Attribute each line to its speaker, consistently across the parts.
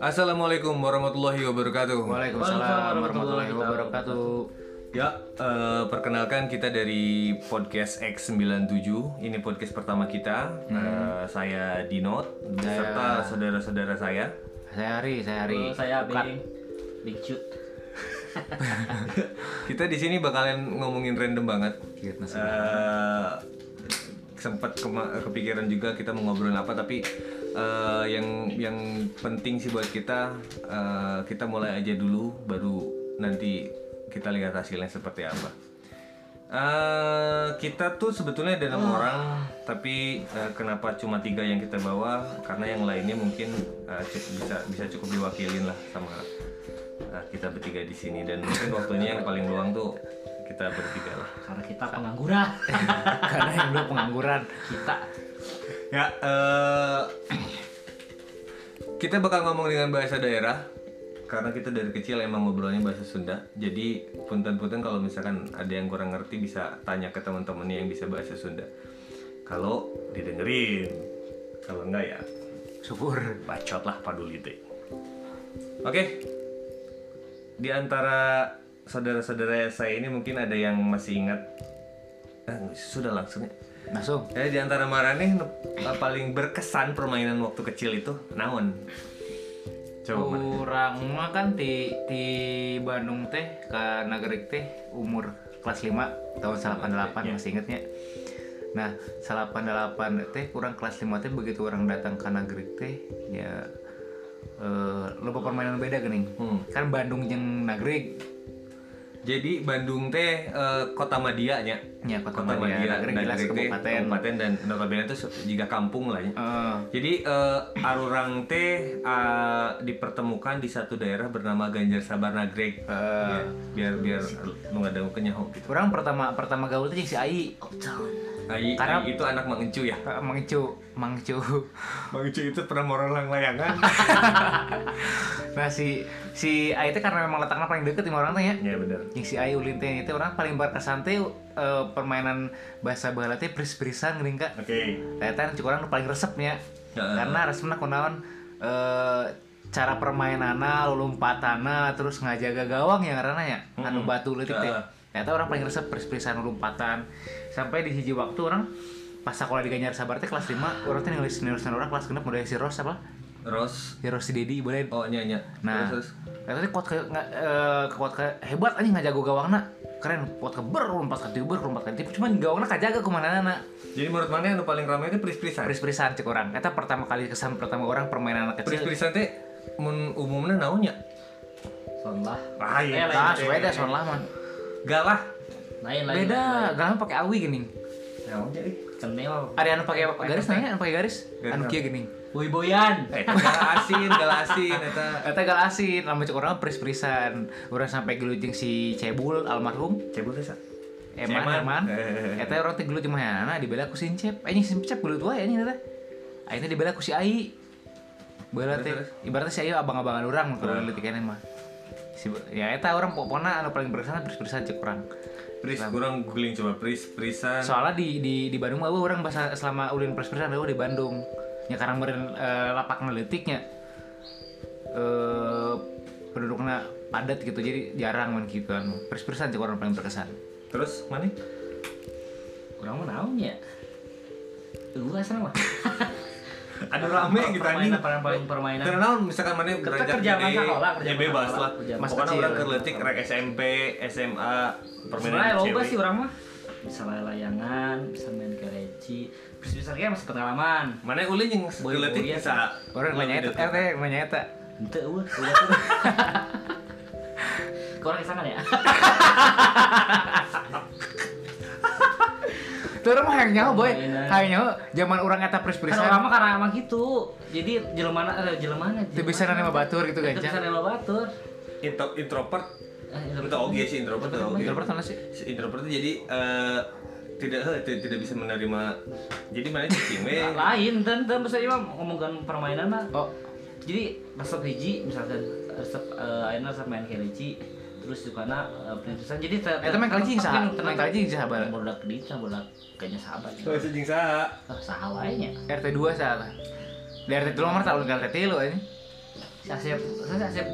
Speaker 1: Assalamualaikum warahmatullahi wabarakatuh.
Speaker 2: Waalaikumsalam warahmatullahi wabarakatuh.
Speaker 1: Ya, eh, perkenalkan kita dari podcast X97. Ini podcast pertama kita. Eh, saya Dino beserta saudara-saudara saya.
Speaker 2: Saya Hari, saya Hari.
Speaker 3: Oh, saya
Speaker 2: Bukan.
Speaker 3: Abi. Big Cut.
Speaker 1: Kita di sini bakalan ngomongin random banget.
Speaker 2: Cute nasib.
Speaker 1: Eh, sempat kema- kepikiran juga kita mau ngobrolin apa tapi eh, yang yang penting sih buat kita eh, kita mulai aja dulu baru nanti kita lihat hasilnya seperti apa Eh, kita tuh sebetulnya ada enam orang tapi eh, kenapa cuma tiga yang kita bawa karena yang lainnya mungkin eh, cukup- bisa bisa cukup diwakilin lah sama eh, kita bertiga di sini dan mungkin waktunya yang paling luang tuh kita bertiga lah
Speaker 3: Karena kita pengangguran.
Speaker 2: Karena yang dulu pengangguran.
Speaker 3: kita
Speaker 1: Ya, eh kita bakal ngomong dengan bahasa daerah karena kita dari kecil emang ngobrolnya bahasa Sunda. Jadi punten-punten kalau misalkan ada yang kurang ngerti bisa tanya ke teman-temannya yang bisa bahasa Sunda. Kalau didengerin, kalau enggak ya
Speaker 2: Syukur.
Speaker 1: bacot lah padulite. Oke, di antara saudara-saudara saya ini mungkin ada yang masih ingat. Eh, sudah langsung ya.
Speaker 2: Langsung.
Speaker 1: Ya, di antara marane nu- paling berkesan permainan waktu kecil itu naon?
Speaker 2: Oh.
Speaker 1: Coba Mana?
Speaker 2: Kurang mah kan di di Bandung teh ke Nagerik teh umur kelas 5 tahun 88
Speaker 3: Iya.
Speaker 2: masih ingetnya. Nah, 88 teh kurang kelas 5 teh begitu orang datang ke Nagerik teh ya eh loba permainan beda geuning.
Speaker 1: Hmm.
Speaker 2: Kan Bandung jeung Nagerik
Speaker 1: Jadi Bandung teh eh, kota Madia nya.
Speaker 2: Ya, kota Madia. Nagreg
Speaker 1: dan Nagreg
Speaker 2: jelas
Speaker 1: teh
Speaker 2: kabupaten.
Speaker 1: kabupaten dan notabene itu juga kampung lah nya.
Speaker 2: eh
Speaker 1: Jadi eh, arurang teh eh, dipertemukan di satu daerah bernama Ganjar Sabar Nagreg. Ya, biar biar mengadang kenyaho gitu.
Speaker 2: Orang pertama pertama gaul tuh jeung si Ai.
Speaker 1: Ai,
Speaker 2: Karena-
Speaker 1: Ai itu anak Mang Encu ya.
Speaker 2: Eh, Mang Cu, Mang Cu.
Speaker 1: Mang Encu itu pernah morolang layangan.
Speaker 2: Nah si si Ai teh karena memang letaknya paling deket sama orang teh ya.
Speaker 1: ya benar.
Speaker 2: Yang si Ai ulin teh itu orang paling berkesan teh eh, permainan bahasa Bala teh beris-berisan geuning ka.
Speaker 1: Oke.
Speaker 2: Eta cukup orang paling resepnya.
Speaker 1: Heeh.
Speaker 2: Karena resepna kunaon eh cara permainanna, lompatana, terus ngajaga gawang yang karena ya anu batu leutik teh.
Speaker 1: Heeh.
Speaker 2: Eta orang paling resep beris-berisan lompatan. Sampai di hiji waktu orang pas sekolah di Ganjar Sabar teh kelas 5 orang teh nulis nulis orang kelas genep mulai si Ros apa?
Speaker 1: Ros
Speaker 2: Si Ros si Dedi boleh
Speaker 1: Oh nyanyi.
Speaker 2: Nah, ternyata dia kuat ke nggak, eh, kuat ke hebat anjing nggak jago gawangna keren kuat ke ber lompat ke tiber lompat ke tiber cuman gawangna kajaga kemana mana
Speaker 1: Jadi menurut mana yang paling ramai itu pris-prisan.
Speaker 2: peris perisan cek orang kata pertama kali kesan pertama orang permainan anak kecil
Speaker 1: Pris-prisan teh mun umumnya naonnya?
Speaker 3: sonlah.
Speaker 1: Ah, iya.
Speaker 3: Eh, lain,
Speaker 2: nah
Speaker 3: lain.
Speaker 2: beda soal laman
Speaker 1: Galah.
Speaker 3: Lain lain.
Speaker 2: beda galang pakai awi gini
Speaker 1: Naonnya ih.
Speaker 3: Ceneo.
Speaker 2: ada anu pakai garis nanya anu pakai garis
Speaker 1: Garis
Speaker 2: anu
Speaker 1: apa?
Speaker 2: kia gini
Speaker 3: Boy boyan.
Speaker 1: Eh, itu galah asin, galah asin eta.
Speaker 2: kata gal asin lama cek orang peris perisan orang sampai gelujing si cebul almarhum
Speaker 1: Cebul desa.
Speaker 2: Eman,
Speaker 1: Eman.
Speaker 2: Eman.
Speaker 1: Eh.
Speaker 2: Eta orang teh gelut jeung mana dibela ku Eh, Sincep. Anjing Sincep gelut wae anjing eta. Akhirnya dibela ku si Ai. Bala teh
Speaker 1: Terus, Ah.
Speaker 2: ibaratnya si Ai abang-abangan urang mun kudu leutik keneh mah. Si ya eta orang pokona anu paling berkesan berkesan cek orang.
Speaker 1: Pris kurang googling coba pris-prisan.
Speaker 2: Soalnya di di di Bandung mah orang bahasa selama ulin pres-presan eueuh di Bandung. Ya karena meureun eh, lapak leutiknya eh pendudukna padat gitu jadi jarang mun kitu anu. Pres-presan cek orang paling berkesan.
Speaker 1: Terus mana?
Speaker 3: Kurang mah naon ya? Lu asal mah.
Speaker 1: Ada rame gitu anjing.
Speaker 3: Permainan paling permainan.
Speaker 1: Karena naon misalkan mana beranjak
Speaker 3: kerja
Speaker 1: gede,
Speaker 3: masa sekolah, kerja
Speaker 1: ya
Speaker 3: masa
Speaker 1: bebas
Speaker 3: sekolah,
Speaker 1: lah.
Speaker 3: kerja
Speaker 2: masa
Speaker 1: Pokoknya
Speaker 2: kecil.
Speaker 1: orang kerletik rek SMP, SMA,
Speaker 3: Sebenarnya
Speaker 1: permainan
Speaker 3: loba sih
Speaker 1: cewek.
Speaker 3: orang mah. Bisa lay- layangan, bisa main kereci. Bisa bisa kayak masih pengalaman.
Speaker 1: Mana ulin yang
Speaker 3: Boy,
Speaker 1: kerletik
Speaker 3: boy, ya.
Speaker 1: bisa.
Speaker 2: Orang nanya eta, RT yang nanya eta.
Speaker 3: Ente eueuh. Korang kesangan ya?
Speaker 2: Tuh orang mah hayang nyawa boy,
Speaker 3: Mainan.
Speaker 2: hayang nyawa zaman Iya. orang eta pres-presan.
Speaker 3: Kan orang mah karena emang gitu. Jadi jelemana eh, jelemana.
Speaker 2: Teu bisa nanya sama batur gitu
Speaker 3: Itu bisa
Speaker 2: gancang.
Speaker 3: nanya sama batur.
Speaker 1: Intro- Introvert
Speaker 3: Eh,
Speaker 1: Itu oke sih introvert itu oge.
Speaker 2: Introvert mana sih?
Speaker 1: Si Introvert itu jadi eh, tidak eh, tidak tidak bisa menerima. Jadi mana cicing we.
Speaker 3: lain dan dan maksudnya mah ngomongkan permainan mah
Speaker 2: Oh,
Speaker 3: jadi resep hiji misalkan resep eh, ayeuna resep main keleci terus juga na eh, princesan jadi ter-
Speaker 2: Eta main kalajing saha? Main kalajing saha bala?
Speaker 3: Budak di saha budak kayaknya sahabat.
Speaker 1: Kalau
Speaker 3: ya.
Speaker 1: sih jeung saha?
Speaker 3: Tah, Saha wae nya.
Speaker 2: RT 2 salah. Di RT 2 mah tahun ke RT 3 aja.
Speaker 3: Si Asep, si Asep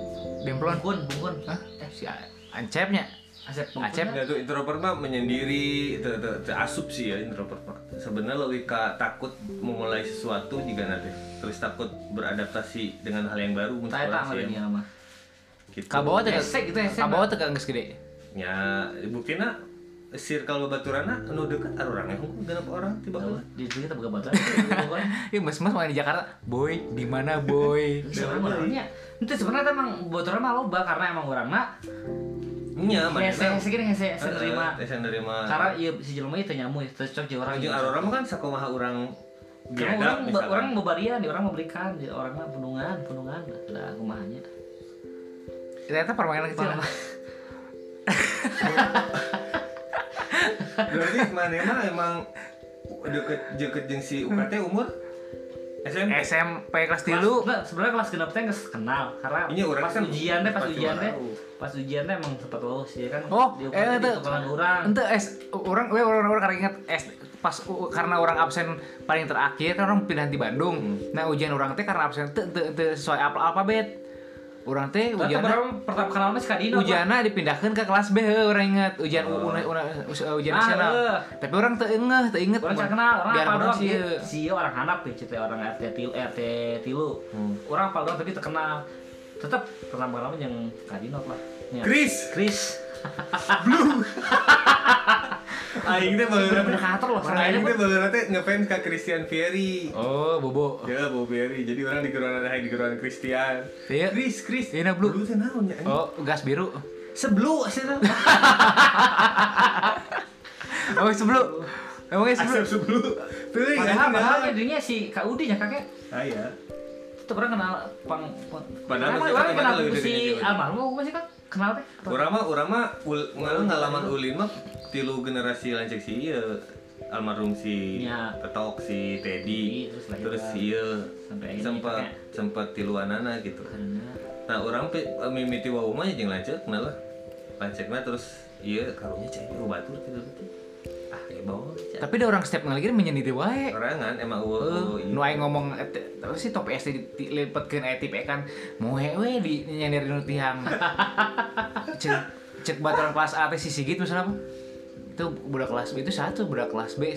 Speaker 2: Demplon.
Speaker 3: Bungkun, Bungkun.
Speaker 2: Hah?
Speaker 3: Eh,
Speaker 2: Si A- Ancepnya.
Speaker 3: Asep Bungkun.
Speaker 2: Asep.
Speaker 3: ya?
Speaker 1: Nah, tuh introvert mah menyendiri, teu teu- teu asup sih ya introvert mah. Sebenarnya logika takut memulai sesuatu juga nanti. Terus takut beradaptasi dengan hal yang baru. mun
Speaker 3: Tah eta
Speaker 1: sekolah sih,
Speaker 3: ngeureun
Speaker 1: ya.
Speaker 3: mah.
Speaker 1: Gitu.
Speaker 2: Kabawa teh.
Speaker 3: Esek itu esek.
Speaker 2: Kabawa teh geus gede.
Speaker 1: Ya, buktinya circle baturana anu deket arurang ya, genep orang tiba
Speaker 3: Tahu,
Speaker 1: heula.
Speaker 3: Di situ kita buka batu. Bungkun.
Speaker 2: Ih, mas-mas Iya, main di Jakarta. Boy, di mana boy?
Speaker 3: Ini sebenarnya modalnya. Itu sebenarnya emang bocoran mah loba karena emang orang mah
Speaker 1: Nya mana?
Speaker 3: hese hese gini
Speaker 1: Eh,
Speaker 3: hese hese nerima.
Speaker 1: Saya nerima.
Speaker 3: Karena iya si jelema itu nyamu ya, terus cocok jeung
Speaker 1: orang
Speaker 3: orang.
Speaker 1: jeung arurang mah kan sakumaha urang biadab,
Speaker 3: Karena Iya, orang
Speaker 1: misalkan.
Speaker 3: orang membarian, orang memberikan, jadi orang mah penungan, penungan. Lah kumahanya.
Speaker 2: Ternyata permainan kecil.
Speaker 3: Parah.
Speaker 1: Berarti mana mah emang deket deket jeung si UKT umur SMP.
Speaker 2: SMP kelas 3
Speaker 3: Kelas- nah, sebenarnya kelas genap teh geus kenal karena
Speaker 1: Ini orang
Speaker 3: pas
Speaker 1: kan
Speaker 3: ujian teh pas
Speaker 1: pasti
Speaker 3: ujian teh
Speaker 1: baru.
Speaker 3: pas ujian teh emang sempat lulus ya kan
Speaker 2: Oh,
Speaker 3: di
Speaker 2: eh
Speaker 3: eh,
Speaker 2: itu
Speaker 3: orang
Speaker 2: Itu es orang we orang orang karena ingat es pas u- karena orang absen paling terakhir kan orang pindah di Bandung.
Speaker 3: Hmm.
Speaker 2: Nah, ujian orang teh karena absen teu teu teu sesuai al- alfabet. Orang teh
Speaker 3: Nah, teu
Speaker 2: ujian
Speaker 3: berapa pertama kenal mah si Kadino
Speaker 2: Ujana dipindahkan ke kelas B, heuh, orang inget ujian u- una- una- us- uh, ujian
Speaker 3: Oh. Ah,
Speaker 2: nasional.
Speaker 3: heuh.
Speaker 2: Tapi orang teu ngeh, teu inget.
Speaker 3: orang cak kenal orang
Speaker 2: Biar
Speaker 3: apa
Speaker 2: orang
Speaker 3: doang iya.
Speaker 2: sih.
Speaker 3: sih si orang hanap ya cerita orang RT tilu RT tilu
Speaker 1: Hmm.
Speaker 3: orang apa doang tapi terkenal tetap pertama kenal mah yang Kadino lah Ya.
Speaker 1: Chris,
Speaker 3: Chris
Speaker 1: aing teh
Speaker 3: udah
Speaker 1: baheula.
Speaker 3: pindah kantor loh
Speaker 1: Aing
Speaker 3: soalnya
Speaker 1: teh baheula teh ngefans ka Christian Vieri.
Speaker 2: Oh, bobo.
Speaker 1: Ya, Bob Berry. Jadi orang di geronan ada di geronan Christian.
Speaker 2: Iya.
Speaker 1: Chris, Chris.
Speaker 2: Iya, Blue.
Speaker 1: Blue teh naon ya? nya?
Speaker 2: Oh, gas biru.
Speaker 1: Seblu sih teh.
Speaker 2: Oh, sebelum. Emangnya sebelum.
Speaker 1: Asep seblu. Teuing
Speaker 3: padahal
Speaker 1: anjing,
Speaker 3: padahal
Speaker 1: naon?
Speaker 3: dirinya si Kak Udi ya kakek
Speaker 1: ya, Ah iya.
Speaker 3: itu orang kenal pang pang-
Speaker 1: Padahal
Speaker 3: Kenapa
Speaker 1: masih
Speaker 3: orang
Speaker 1: kenal
Speaker 3: kenal
Speaker 1: lebih
Speaker 3: si
Speaker 1: dari dia.
Speaker 3: almarhum apa sih kan kenal teh
Speaker 1: Urang mah urang mah ul, ngalah ngalaman ulin mah tilu generasi lancik si ieu almarhum si
Speaker 3: Nya.
Speaker 1: Tetok si Teddy
Speaker 3: Ya. Terus lahir
Speaker 1: terus
Speaker 3: lah.
Speaker 1: si ieu
Speaker 3: Sampai akhirnya gitu kan?
Speaker 1: sempat
Speaker 3: nikahnya.
Speaker 1: sempat tilu anana gitu. Nah urang pe- mimiti wau mah jeung lanceuk kenal lah. Lanceukna terus ieu karunya cai ieu batur tilu teh. Ah, kayak bawa cai.
Speaker 2: Tapi ada orang step ngalir menyendiri wae.
Speaker 1: Orangan emang eueuh eueuh
Speaker 2: Heeh,
Speaker 1: ieu.
Speaker 2: nu aing ngomong eh, te- apa sih top SD dilipetkeun aya tipe kan moe we di nyender nu tihang. Cek cek baturan kelas A teh sisi gitu misalnya apa? Itu budak kelas B itu satu budak kelas B.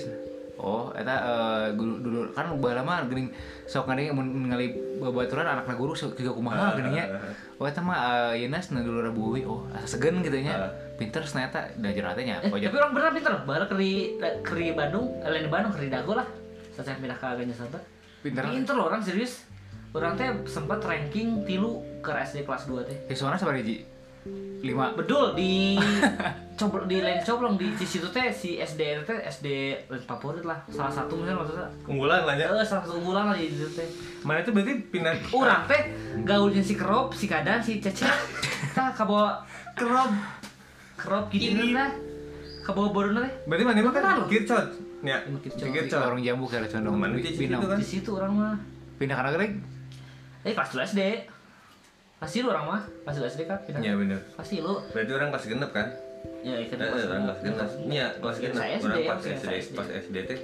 Speaker 2: Oh, eta eh, dulu, dulu kan baheula mah geuning sok ngade mun ngali babaturan anakna guru sok tiga kumaha geuning nya. Oh eta mah eh, yeuna cenah dulu rabuwi. Oh, asa segen gitu nya. Pinter ternyata dajar teh nya.
Speaker 3: Eh,
Speaker 2: Wajar.
Speaker 3: tapi orang bener pinter baru keri keri Bandung eh, lain di Bandung keri Dago lah saya pindah ke Aganya Santa
Speaker 2: Pinter.
Speaker 3: pinter loh orang serius orang teh sempat ranking tilu ke SD kelas 2 teh
Speaker 2: Siswana sabar hiji. 5
Speaker 3: bedul di coba di lain coblong di di situ teh si SD teh SD lain favorit lah salah satu misalnya maksudnya
Speaker 1: Unggulan lah ya.
Speaker 3: eh salah satu unggulan lah di situ teh
Speaker 1: Mana itu berarti pindah
Speaker 3: orang teh gaulnya si kerop si kadang si cecep tah kabawa kerop kerop gini lah kabawa borona teh
Speaker 1: Berarti mana mah kan
Speaker 3: Kenal.
Speaker 1: kircot. Ya,
Speaker 3: Emang kircot.
Speaker 1: kircot.
Speaker 2: Warung jambu kali condong.
Speaker 1: Mana di situ
Speaker 2: Pindah
Speaker 1: kan?
Speaker 3: di situ orang mah
Speaker 2: pindah karena gede.
Speaker 3: eh kelas dua sd pasti lu orang mah kelas dua sd kan pindah
Speaker 1: Ya bener.
Speaker 3: pasti lu
Speaker 1: Berarti orang pas genep kan?
Speaker 3: ya itu
Speaker 1: Eh, eh, orang kelas genep. Iya, kelas genep.
Speaker 3: Saya SD,
Speaker 1: Orang pas
Speaker 3: saya
Speaker 1: SD,
Speaker 3: SD.
Speaker 1: pas SD teh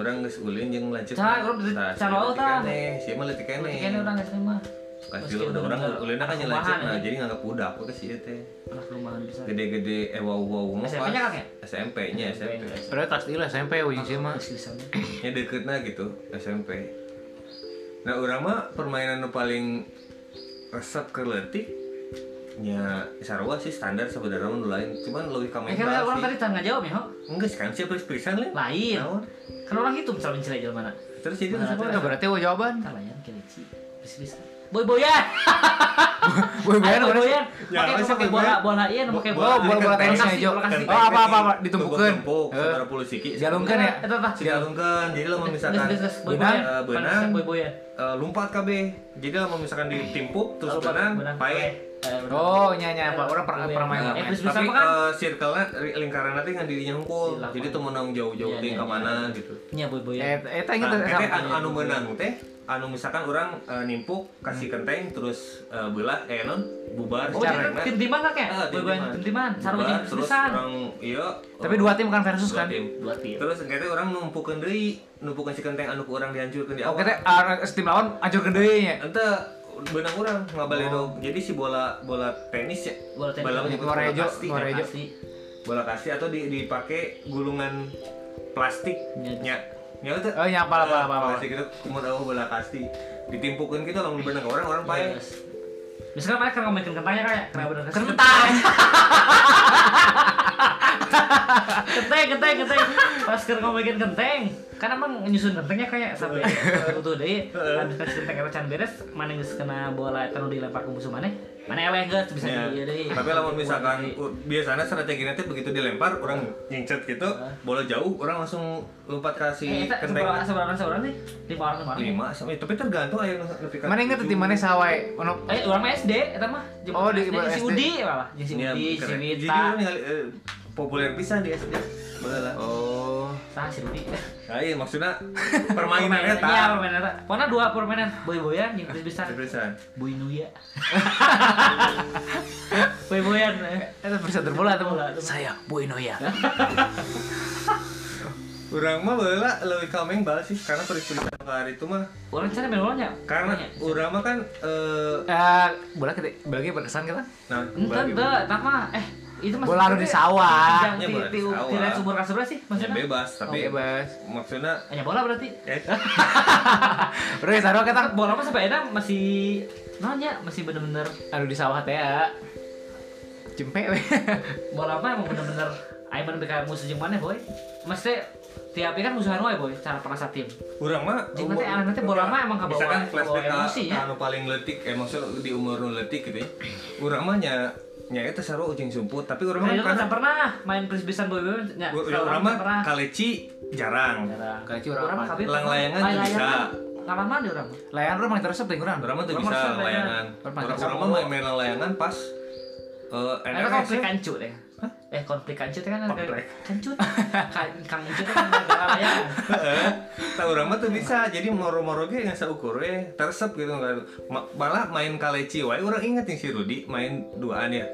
Speaker 1: orang geus ulin jeung lanceuk.
Speaker 3: Cai, urang bisa
Speaker 1: Nah,
Speaker 3: cara laut,
Speaker 1: leutik
Speaker 3: ah.
Speaker 1: keneh, sia mah leutik keneh.
Speaker 3: kayaknya orang sd mah
Speaker 1: Kelas
Speaker 3: Meski
Speaker 1: dulu
Speaker 3: udah
Speaker 1: orang
Speaker 3: bener-
Speaker 1: ulin kan jeung lanceuk.
Speaker 3: rumahan,
Speaker 1: Nah,
Speaker 3: ya.
Speaker 1: jadi nganggap budak we ke si ieu teh.
Speaker 3: anak rumahan bisa
Speaker 1: Gede-gede ewau-wau mah
Speaker 3: SMP -nya
Speaker 1: pas
Speaker 3: kan, ya?
Speaker 1: SMP-nya SMP.
Speaker 2: Padahal kelas tiga lah SMP ujung sih mah.
Speaker 1: Ya deketna gitu SMP. Nah, urang mah permainan nu paling resep ke leutik nya sarua sih standar sebenarnya mah nu lain cuman leuwih ka
Speaker 3: Eh,
Speaker 1: main
Speaker 3: kan
Speaker 1: bal
Speaker 3: orang
Speaker 1: sih.
Speaker 3: tadi tangga jawab ya, ho?
Speaker 1: Enggak kan siapa pisan lain.
Speaker 3: Lain.
Speaker 1: Naon?
Speaker 3: Kan orang itu misalnya mencari jalan mana?
Speaker 1: Terus jadi
Speaker 3: Nah,
Speaker 1: siapa?
Speaker 3: terus.
Speaker 2: Nah, berarti gua jawaban.
Speaker 3: Kan layan keleci. Bis-bis. Boy-boyan.
Speaker 2: Boy boyan
Speaker 3: Ayo,
Speaker 2: mana sih?
Speaker 3: boyan.
Speaker 1: Ya,
Speaker 3: Pakai
Speaker 1: apa sih,
Speaker 3: pakai
Speaker 1: boy
Speaker 3: bola,
Speaker 1: boyan?
Speaker 3: bola iya,
Speaker 1: Bo-
Speaker 3: pakai
Speaker 2: Oh,
Speaker 3: bola.
Speaker 2: bola bola
Speaker 1: Bola
Speaker 2: tenisnya
Speaker 3: kasih,
Speaker 2: Jo.
Speaker 3: bola kasih.
Speaker 2: Oh, apa apa apa ditumpukkeun.
Speaker 1: Tumpuk,
Speaker 2: Heeh.
Speaker 1: saudara puluh siki.
Speaker 2: Jalungkeun ya.
Speaker 3: Eta tah.
Speaker 1: Si jalungkeun. Jadi lah
Speaker 3: Eh,
Speaker 1: misalkan
Speaker 3: Bis, bis, bis. Boy
Speaker 1: benang,
Speaker 3: boyan.
Speaker 1: eh,
Speaker 3: Panasan
Speaker 1: benang,
Speaker 3: boy boyan.
Speaker 1: eh, lompat KB. Jadi lah misalkan ditimpuk terus
Speaker 3: Lompat,
Speaker 1: benang,
Speaker 3: benang,
Speaker 1: pae.
Speaker 3: pae.
Speaker 2: Oh, nyanya apa? Orang pernah pernah main
Speaker 3: Nah,
Speaker 2: main.
Speaker 3: eh, terus-
Speaker 1: tapi
Speaker 3: apa kan?
Speaker 1: eh, circle-nya ri- lingkaran nanti nggak dirinya hungkul
Speaker 3: Dilakukan.
Speaker 1: jadi tuh menang jauh-jauh
Speaker 3: Iya,
Speaker 1: ting
Speaker 3: iya,
Speaker 1: ke mana gitu
Speaker 3: nya boy boy
Speaker 2: Eh, eh, tanya
Speaker 1: nah,
Speaker 2: teh
Speaker 1: teh
Speaker 2: sama.
Speaker 1: anu, anu menang teh anu misalkan orang eh, nimpuk kasih kenteng terus eh, belah eh non bubar
Speaker 3: oh
Speaker 1: secara
Speaker 3: dia kan
Speaker 1: enak.
Speaker 3: tim timan
Speaker 2: Eh,
Speaker 3: lah kayak
Speaker 1: Ah,
Speaker 3: boy boy tim timan sarung
Speaker 1: Bubar,
Speaker 3: jeung
Speaker 1: terus
Speaker 3: pisan
Speaker 1: orang iya
Speaker 2: Tapi
Speaker 1: eh,
Speaker 2: dua tim kan versus
Speaker 1: dua
Speaker 2: kan.
Speaker 1: tim.
Speaker 3: dua tim
Speaker 1: terus kayaknya orang numpukan deui numpukan si kenteng anu ku orang dihancurkan di awal
Speaker 2: Oke teh ah, tim lawan ajur gede nya.
Speaker 1: ente benang orang ngabaleno jadi si bola bola tenis ya
Speaker 3: Oh. Bola tenis.
Speaker 1: bola menyebut
Speaker 2: Warna
Speaker 1: bola
Speaker 2: hijau,
Speaker 1: plastik
Speaker 2: warna
Speaker 1: ya.
Speaker 2: hijau.
Speaker 3: pasti
Speaker 1: bola kasih atau di, dipakai gulungan plastik
Speaker 3: Nya.
Speaker 1: nya nya itu Eh,
Speaker 2: Oh, nya, apa, apa, apa, apa.
Speaker 1: plastik itu kumur awal bola kasih ditimpukan gitu, kita lamun benang orang orang pae
Speaker 3: Yes. Misalkan mereka kan ngomongin kentangnya kayak kena bener kasih
Speaker 2: Kentang.
Speaker 3: Kenteng, kenteng, kenteng Pas kena ngomongin kenteng Kan emang nyusun kentengnya kayak ya? sampai
Speaker 1: Iya.
Speaker 3: Tuh deh Habis kasih kenteng erecan beres Mana nggak kena bola Tanu dilempar ke musuh mana Mana eleh guys Bisa
Speaker 1: Nya.
Speaker 3: di iya Iya. deh Iya.
Speaker 1: tapi lamun misalkan u- biasanya strateginya teh begitu dilempar orang nyincet gitu bola jauh orang langsung lompat
Speaker 3: Iya. Eh,
Speaker 1: kasih
Speaker 3: eta seberapa
Speaker 1: kenteng Iya.
Speaker 3: seberapa seberapa nih? Lima orang lima orang.
Speaker 1: lima sampai tapi tergantung ayo nepi ka
Speaker 2: Mana inget
Speaker 1: tujuh.
Speaker 2: tim mana sawai? Ono
Speaker 3: Eh, orang mah SD, eta mah. Jemput
Speaker 2: Oh, di
Speaker 3: SD, si
Speaker 2: SD.
Speaker 3: Udi malah. Si
Speaker 1: Iya,
Speaker 3: Udi, si
Speaker 1: keren. Jadi
Speaker 3: Wita.
Speaker 1: orang ningali, eh, populer pisan di SD. Baheula.
Speaker 2: Oh.
Speaker 3: Tah si Udi.
Speaker 1: Nah, iya maksudnya permainannya tak.
Speaker 3: Iya, permainan eta. Pokoknya dua permainan, boy-boyan jeung terus bisa
Speaker 1: Pisan.
Speaker 3: boy nuya. boy-boyan.
Speaker 2: Itu bersaudara bola tuh.
Speaker 3: Bola, tuh.
Speaker 2: Saya Boy Noya.
Speaker 1: Urang mah baheula leuwih kalmeng bal sih karena turis-turisan ka hari itu mah.
Speaker 3: Orang cara main bolanya.
Speaker 1: Karena urang mah kan eh
Speaker 2: Eh, bola kita bagi berkesan kita.
Speaker 1: nah
Speaker 3: enten
Speaker 1: bagi-
Speaker 3: teh, tah mah eh itu mah
Speaker 2: Bola anu di sawah.
Speaker 3: Yang
Speaker 1: Nya
Speaker 3: ti
Speaker 1: Ya, bola di
Speaker 3: ti
Speaker 1: sawah.
Speaker 3: tiran sumur ka seberapa sih
Speaker 1: ya,
Speaker 3: maksudnya? Oh,
Speaker 1: bebas tapi
Speaker 2: Oke, Bas.
Speaker 1: maksudnya
Speaker 3: Hanya bola berarti.
Speaker 1: eh,
Speaker 2: Bro, ya taruh kita
Speaker 3: Kan bola mah sampai enak masih nanya masih bener-bener
Speaker 2: anu di sawah teh ya. Jempe we.
Speaker 3: bola mah emang bener-bener ayo bener kayak musuh jeung mana boy. Mesti tiap kan musuhan wae boy cara perasa tim.
Speaker 1: urang mah
Speaker 3: Jeung nanti anak teh bola mah emang kabawa-
Speaker 1: misalkan
Speaker 3: kabawa
Speaker 1: flashback ka-
Speaker 3: emosi, ya.
Speaker 1: ka anu paling letik eh maksudnya di umur nu letik gitu ya. Urang mah nya nya eta sarua ucing sumput tapi urang mah
Speaker 3: Nah, kan
Speaker 1: karena
Speaker 3: pernah main frisbeesan boy-boyan nya.
Speaker 1: urang
Speaker 3: mah
Speaker 1: mah kaleci jarang.
Speaker 2: Kayak curang.
Speaker 3: Orang mah kabeh
Speaker 1: Lang layangan
Speaker 3: Lang
Speaker 1: tuh bisa.
Speaker 3: layangan Ngalaman deh orang. mah.
Speaker 2: Layan rumah kita resep teh kurang.
Speaker 1: Orang mah tuh
Speaker 3: Orang
Speaker 1: bisa
Speaker 3: mah bisa
Speaker 1: layangan.
Speaker 2: Orang mah
Speaker 1: Orang
Speaker 2: bisa.
Speaker 1: orang mah main- main layangan pas eh
Speaker 3: Eta
Speaker 1: NRS
Speaker 3: konflik
Speaker 1: ya.
Speaker 3: kancut ya. Eh konflik kancut kan ada
Speaker 1: Konflik.
Speaker 3: kancut. Ka- Kang kancut kan ada layangan.
Speaker 1: Heeh. Tah urang mah tuh bisa. Jadi moro-moro ge yang saukur we tersep gitu kan. Ma- Malah main kaleci wae urang inget yang si Rudi main duaan ya.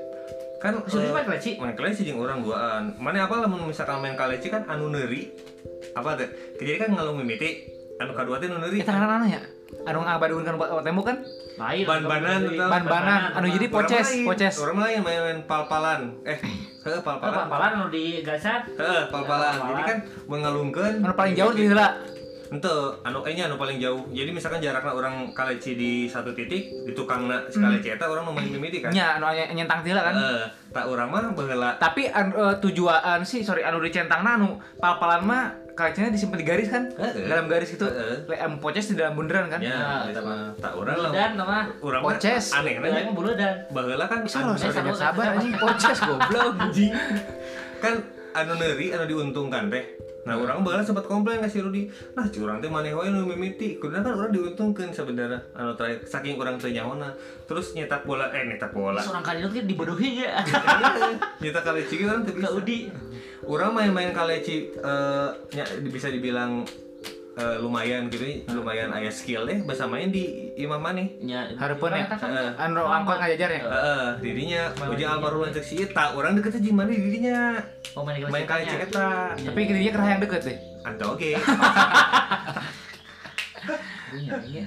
Speaker 1: Kan
Speaker 3: Si Rudi
Speaker 1: eh,
Speaker 3: main kaleci?
Speaker 1: Main kaleci jeung urang duaan. Mana apa lamun misalkan main kaleci kan anu neuri. Apa teh? Jadi kan ngalung mimiti anu kadua teh anu neuri.
Speaker 2: Kita kan anu ya. Anu ngabadukeun kan buat tembok kan?
Speaker 3: Lain.
Speaker 1: Ban-banan
Speaker 3: Jadi,
Speaker 1: atau-
Speaker 2: Ban-banan. Anu jadi
Speaker 1: Nah, Urang
Speaker 2: poces,
Speaker 1: lain.
Speaker 2: poces.
Speaker 1: Urang lain main-main pal-palan. Eh, heeh pal-palan.
Speaker 3: Palan lu Anu di gasat.
Speaker 1: Heeh, pal-palan. Jadi kan mengalungkeun.
Speaker 2: Anu paling jauh di heula.
Speaker 1: Ente, anu eh, nya anu paling jauh. Jadi misalkan jaraknya orang kaleci di satu titik, di tukangna si kaleci eta orang memain mimiti kan.
Speaker 2: Nya anu nya- nyentang di heula kan.
Speaker 1: Heeh, tak orang mah baheula.
Speaker 2: Tapi an, eh, tujuan sih sorry anu dicentangna anu pal-palan mah kacanya disimpan di garis kan?
Speaker 1: Heeh.
Speaker 2: Dalam garis gitu.
Speaker 1: Heeh.
Speaker 2: Le em poces di dalam bundaran kan?
Speaker 1: Ya, eta mah eh, tak orang lah.
Speaker 3: Dan nama.
Speaker 1: Urang mah
Speaker 2: Poces.
Speaker 1: anehna nya
Speaker 3: Lain bulu dan.
Speaker 1: baheula kan anu,
Speaker 2: Salah, sorry,
Speaker 3: Eh,
Speaker 2: nggak
Speaker 3: sabar,
Speaker 2: sabar anjing poces goblok anjing.
Speaker 1: kan anu neuri anu diuntungkan teh. Nah, orang baheula sempat komplain ka si Rudi. Nah, si urang teh maneh wae nu mimiti. Kudu kan orang diuntungkeun sebenarnya anu terakhir saking urang teu nyaona. Terus nyetak bola eh nyetak bola.
Speaker 3: Seorang kali itu dibodohi ya.
Speaker 1: Nyetak kaleci kan teu bisa.
Speaker 3: Kak Udi.
Speaker 1: Orang main-main kaleci eh, nya- bisa dibilang eh, lumayan gitu, ya. lumayan ayah skill deh bahasa main di Imam Mane.
Speaker 3: Ya,
Speaker 2: Harapan ya?
Speaker 3: kita kan-
Speaker 1: Heeh.
Speaker 2: Anu angkot ngajajar ya?
Speaker 1: Heeh, dirinya uji almarhum lantek si Eta, orang deketnya jeung mana dirinya.
Speaker 3: Oh, main kaleci
Speaker 1: Main kaleci
Speaker 3: tanya.
Speaker 1: eta.
Speaker 2: Tapi kirinya kerah yang deket deh.
Speaker 1: Atau oke.
Speaker 3: Iya, iya.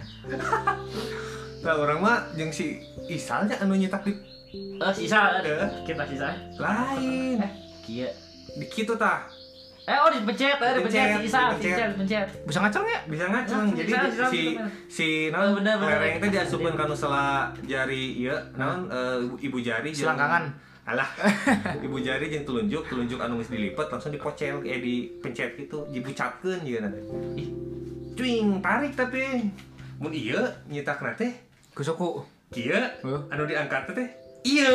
Speaker 1: Lah orang mah jeung si Isalnya anu nyetak di
Speaker 3: Eh, sisa.
Speaker 1: Heeh.
Speaker 3: Kita sisa.
Speaker 1: lain.
Speaker 3: Eh, kia.
Speaker 1: Di kitu tah.
Speaker 3: Eh, oh dipencet, eh
Speaker 1: Dipencet,
Speaker 3: dipencet, si Isa, si
Speaker 1: dipencet.
Speaker 3: Isa dipencet.
Speaker 2: Bisa ngacong ya?
Speaker 1: bisa ngaceng jadi
Speaker 3: Bisa,
Speaker 1: di-
Speaker 3: bisa,
Speaker 1: si
Speaker 3: bisa.
Speaker 1: si
Speaker 3: Oh,
Speaker 1: non
Speaker 3: bener, bener.
Speaker 1: lereng teh diasupkeun ka nu sela jari ieu naon eh, ibu jari jeung-
Speaker 2: Selangkangan.
Speaker 1: alah ibu jari jeung telunjuk telunjuk anu geus dilipat langsung dipocel eh dipencet gitu dibucatkeun ieu nanti ih cuing tarik tapi mun ieu nyetakna teh
Speaker 2: Gusuku.
Speaker 1: kieu
Speaker 2: Huh?
Speaker 1: anu diangkat teh iya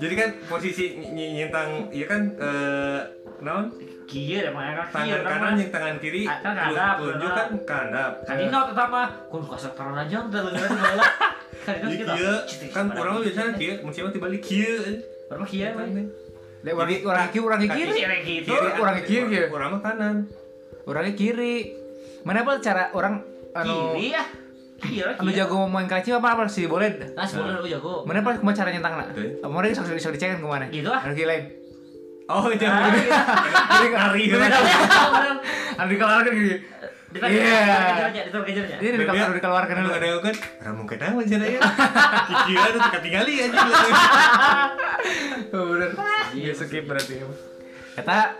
Speaker 1: jadi kan posisi ny- ny- nyentang ieu kan eh, naon
Speaker 3: Kia dah mana
Speaker 1: tangan
Speaker 3: kia
Speaker 1: kanan yang tangan kiri
Speaker 3: Ah, kan
Speaker 1: telun-
Speaker 3: kadap,
Speaker 1: telunjuk kan kadap
Speaker 3: Kadino tetap mah kun kuasa taruh aja udah lengan bola. Kan
Speaker 1: Jadi
Speaker 3: kita
Speaker 1: kieu
Speaker 3: Cita,
Speaker 1: kan
Speaker 3: padahal
Speaker 1: orang mah biasanya kieu, mun siapa tiba balik kieu.
Speaker 3: Orang kia
Speaker 1: Kan,
Speaker 3: mah.
Speaker 1: nih.
Speaker 2: Lek orang orang kiri orang kiri.
Speaker 3: Kiri gitu.
Speaker 1: Kiri,
Speaker 2: orang kieu, kieu.
Speaker 1: Orang mah kanan.
Speaker 2: Orangnya kiri. Mana apa cara orang anu
Speaker 3: Kiri ya. Kiri
Speaker 2: anu jago main kancing apa apa sih boleh.
Speaker 1: Iya.
Speaker 3: Nah, sebenarnya lu jago.
Speaker 2: Mana apa kemana caranya tangan?
Speaker 1: Teh.
Speaker 2: Apa mana sok sok dicengin kemana?
Speaker 3: Gitu ah.
Speaker 2: Anu lain.
Speaker 1: Oh, itu yang
Speaker 3: Ah,
Speaker 1: bener.
Speaker 3: iya.
Speaker 1: Jadi ngari.
Speaker 3: Beneran.
Speaker 2: Anu dikeluarkan gitu.
Speaker 3: Ditarik,
Speaker 2: Iya.
Speaker 3: ditarik aja, ditarik aja, ya.
Speaker 2: Ini dikeluarkan anu dikeluarkan
Speaker 1: Anu
Speaker 2: dulu.
Speaker 1: ada kan? Ramon kenang aja ya. Kira tuh ketinggali aja.
Speaker 2: Oh, Bener.
Speaker 1: Iya skip berarti.
Speaker 2: Kata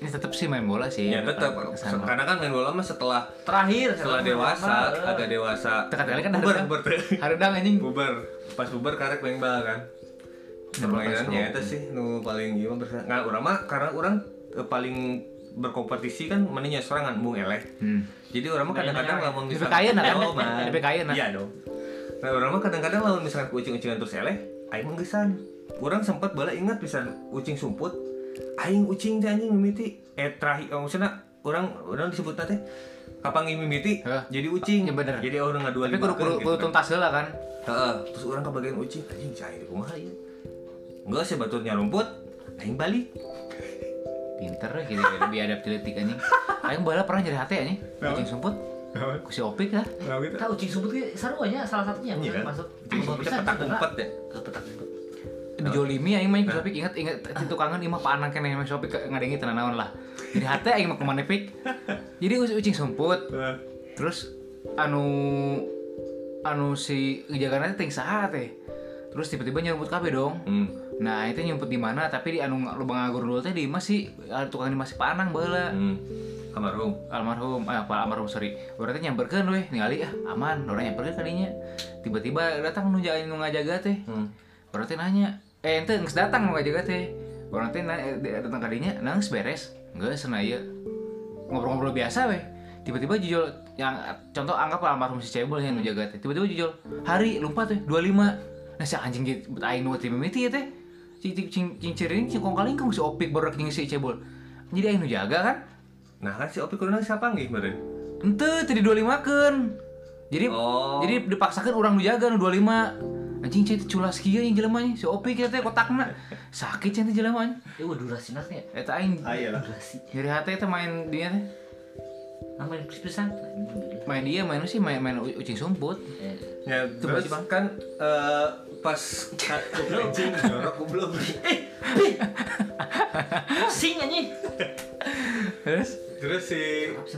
Speaker 2: ini tetap sih main bola sih.
Speaker 1: Ya tetap
Speaker 2: Sama.
Speaker 1: karena kan main bola mah setelah
Speaker 3: Terakhir
Speaker 1: setelah dewasa agak dewasa.
Speaker 2: Tekan kali kan
Speaker 1: bubar
Speaker 2: harus-
Speaker 1: bubar teh.
Speaker 2: Harudang anjing.
Speaker 1: bubar. Pas bubar karek main bal kan.
Speaker 2: Iya,
Speaker 1: Permainannya itu sih nu paling gimana bersa- Nggak, urang mah karena urang eh, paling berkompetisi kan meninya serangan bung eleh.
Speaker 2: Hmm.
Speaker 1: Jadi orang mah kadang-kadang lamun
Speaker 2: Di PKN nah, kan?
Speaker 1: Oh, man.
Speaker 2: Di PKN nah.
Speaker 1: Iya dong. Nah, orang mah kadang-kadang lamun misalkan ku ucing-ucingan terus eleh, aing menggesan. Orang sempat bala ingat pisan ucing sumput, aing ucing teh anjing mimiti. Eh terakhir oh, maksudnya orang orang disebut teh kapangi mimiti
Speaker 2: Heh.
Speaker 1: jadi ucing.
Speaker 2: Ya, bener.
Speaker 1: Jadi oh, orang ngadua
Speaker 2: Tapi kudu
Speaker 1: gitu
Speaker 2: kudu kudu tuntas heula kan.
Speaker 1: Heeh, terus orang kebagian ucing anjing cai di kumaha ieu. iya. Enggak sih baturnya rumput, aing balik.
Speaker 2: Pinter ya gitu ya, lebih adaptabilitik anjing. Aing bala pernah nyari hati anjing.
Speaker 1: Nah.
Speaker 2: Kucing sumput. Ku si Opik lah.
Speaker 1: Nah, gitu.
Speaker 3: Tahu ucing sumput ge seru aja salah satunya
Speaker 1: Iya kan?
Speaker 3: masuk.
Speaker 1: Ucing sumput teh petak umpet ya.
Speaker 3: Petak umpet.
Speaker 2: dijolimi aing mah ku Sopik ingat ingat itu kangen imah pak anak kene mah Sopik ngadengi teu naon lah. Jadi hate aing mah kemana pik. Jadi us- ucing sumput.
Speaker 1: Heeh.
Speaker 2: Terus anu anu si ngejagana teh ting saha teh. Terus tiba-tiba nyerumput kabeh dong.
Speaker 1: Hmm.
Speaker 2: Nah, itu nyumput di mana tapi di anu lubang ngagur dulu teh di masih tukang di masih panang baheula.
Speaker 1: Hmm. Almarhum.
Speaker 2: almarhum eh apa almarhum sorry berarti nyamperkan weh ningali ah aman orang nyamperkan kalinya tiba-tiba datang nu jaga nu ngajaga teh
Speaker 1: Hmm.
Speaker 2: berarti nanya eh ente nggak datang nu ngajaga teh orang teh na- eh, datang kalinya nangis beres nggak senaya ngobrol-ngobrol biasa weh tiba-tiba jujur yang contoh anggap almarhum si cebol yang nu jaga teh tiba-tiba jujur hari lupa tuh 25 nah si anjing gitu bet aing nu tim mimiti ya teh cing cing cing cing cing cing kong kaling kong si opik baru cing si cebol jadi aing nu jaga kan
Speaker 1: Nah kan si Opi Kurnia siapa nggih kemarin?
Speaker 2: Ente tadi 25 kan. Jadi
Speaker 1: Oh.
Speaker 2: jadi dipaksakan orang nu jaga nu 25. Anjing cai teh culas kieu yang jelema nya. Si Opi kita teh kotakna. Sakit cai teh jelema nya.
Speaker 3: Eh, udah durasi nanti ya.
Speaker 2: Eta aing
Speaker 1: Ayolah.
Speaker 3: Durasi.
Speaker 2: nyeri hati teh main dia teh.
Speaker 3: Namanya kris-krisan.
Speaker 2: Main dia main sih main main u- ucing sumput.
Speaker 3: Eh,
Speaker 1: Ya,
Speaker 2: Coba
Speaker 1: terus
Speaker 2: sih, Bang.
Speaker 1: kan eh, pas anjing jorok goblok.
Speaker 3: Sing anjing.
Speaker 2: Terus
Speaker 1: Terus si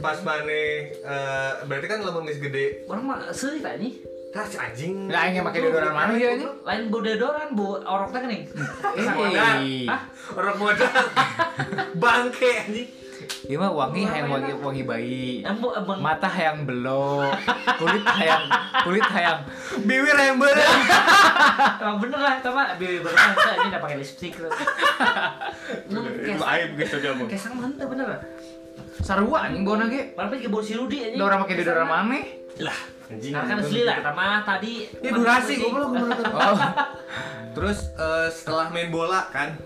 Speaker 1: pas mane eh, berarti kan lamun geus gede.
Speaker 3: Orang mah seuih tak anjing.
Speaker 1: Tah Nah, si anjing. Iya,
Speaker 2: lah aing make deodoran mana
Speaker 1: Oh
Speaker 2: ya ini?
Speaker 3: Lain bau deodoran, bau orok teh geuning.
Speaker 2: Eh.
Speaker 3: Hah?
Speaker 1: Orang modal. Bangke anjing.
Speaker 2: Ieu Iya, mah wangi hayang wangi wangi bayi.
Speaker 3: Embo emang
Speaker 2: Mata hayang belok, kulit hayang kulit hayang
Speaker 1: Bibir yang bener.
Speaker 3: emang bener lah, eta mah bibi berasa anjing da pakai lipstick.
Speaker 1: Itu aib geus coba.
Speaker 3: Kesang mah henteu bener.
Speaker 2: sarua anjing bona ge.
Speaker 3: Mana ke bau si Rudi anjing.
Speaker 2: Da orang make deodoran mana?
Speaker 1: Lah, anjing.
Speaker 3: Nah, kan asli lah, pertama tadi.
Speaker 1: Ini durasi goblok goblok.
Speaker 2: Oh.
Speaker 1: Terus eh, setelah main bola kan.